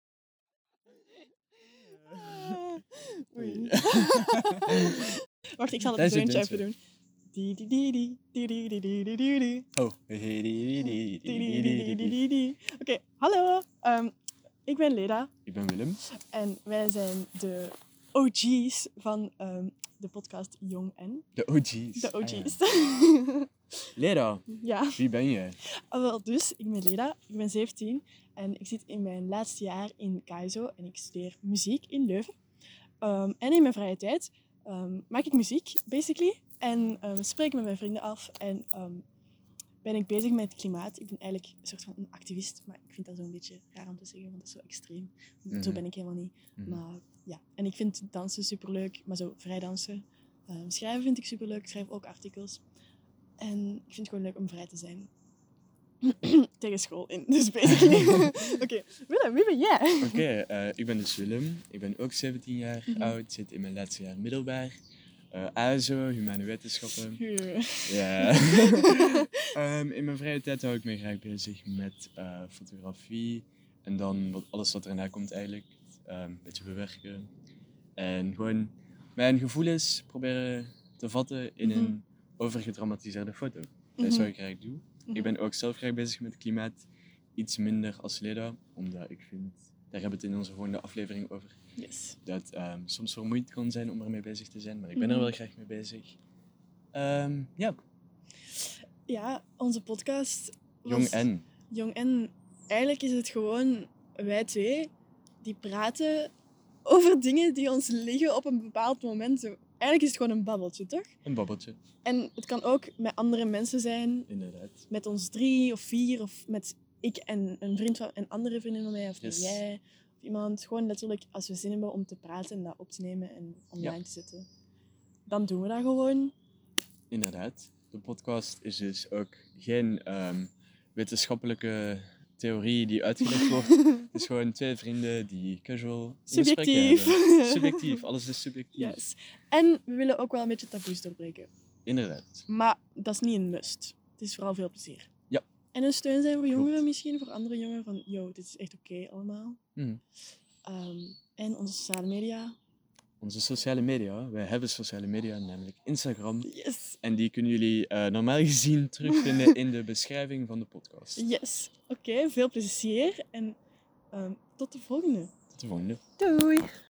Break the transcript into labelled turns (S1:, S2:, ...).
S1: Oei.
S2: Oei.
S1: Wacht, ik zal
S2: Daar
S1: het
S2: zit
S1: deuntje
S2: Dins
S1: even doen. Di di di di di di di di di di di.
S2: Oh.
S1: Di di di di di di di. Oké, hallo. Ehm, ik ben Leda
S2: Ik ben Willem.
S1: en wij zijn de OG's van ehm, de podcast Jong en.
S2: De OG's.
S1: De
S2: Ah, ja.
S1: OG's.
S2: Lera,
S1: ja.
S2: wie ben je?
S1: Ah, Wel, dus, ik ben Leda, ik ben 17 en ik zit in mijn laatste jaar in Kaizo en ik studeer muziek in Leuven. Ehm, en in mijn vrije tijd ehm, maak ik muziek, basically, en ehm, spreek ik met mijn vrienden af en ehm, ben ik bezig met het klimaat. Ik ben eigenlijk een soort van een activist, maar ik vind dat zo'n beetje raar om te zeggen, want dat is zo extreem. Zo
S2: Mhm.
S1: ben ik helemaal niet.
S2: Mhm.
S1: Maar ja, en ik vind dansen superleuk, maar zo vrij dansen. Ehm, schrijven vind ik superleuk, ik schrijf ook artikels. En ik vind het gewoon leuk om vrij te zijn. Tegen school in, dus basically. Oké, Willem, wie ben jij?
S2: Oké, eh, ik ben dus Willem. Ik ben ook 17 jaar
S1: Mhm.
S2: oud, zit in mijn laatste jaar middelbaar. Eh ASO, humane wetenschappen. Ja. Ehm, in mijn vrije tijd hou ik me graag bezig met eh, fotografie. En dan wat, alles wat erna komt eigenlijk. Ehm, Een beetje bewerken. En gewoon mijn gevoelens proberen te vatten in
S1: Mhm.
S2: een overgetraumatiseerde foto. Dat is
S1: Mhm.
S2: wat ik graag doe. Ik ben ook zelf graag bezig met klimaat. Iets minder als leda, omdat ik vind... Daar hebben we het in onze volgende aflevering over.
S1: Yes.
S2: Dat ehm, soms vermoeid kan zijn om ermee bezig te zijn. Maar ik ben
S1: Mhm.
S2: er wel graag mee bezig. Ehm, ja,
S1: Ja, onze podcast. was-
S2: jong en...
S1: Jong en. Eigenlijk is het gewoon wij twee die praten over dingen die ons liggen op een bepaald moment. Zo, Eigenlijk is het gewoon een babbeltje, toch?
S2: Een babbeltje,
S1: En het kan ook met andere mensen zijn,
S2: inderdaad.
S1: met ons drie of vier, of met ik en een vriend van een andere vriendin van mij, of
S2: Yes.
S1: jij, of iemand. Gewoon letterlijk als we zin hebben om te praten en dat op te nemen en online te zetten. Dan doen we dat gewoon.
S2: Inderdaad. De podcast is dus ook geen ehm, wetenschappelijke theorie die uitgelegd wordt. Het is gewoon twee vrienden die casual een gesprek
S1: Subjectief.
S2: hebben. Subjectief, alles is subjectief.
S1: Yes. En we willen ook wel een beetje taboes doorbreken.
S2: Inderdaad.
S1: Maar dat is niet een must. Het is vooral veel plezier.
S2: Ja.
S1: En een steun zijn voor
S2: Klopt.
S1: jongeren misschien, voor andere jongeren van, yo, dit is echt oké allemaal.
S2: Mhm.
S1: Ehm, en onze sociale media.
S2: Onze sociale media, wij hebben sociale media, namelijk Instagram.
S1: Yes.
S2: En die kunnen jullie eh, normaal gezien terugvinden in de beschrijving van de podcast.
S1: Yes. Oké, veel plezier en ehm, tot de volgende.
S2: Tot de volgende.
S1: Doei.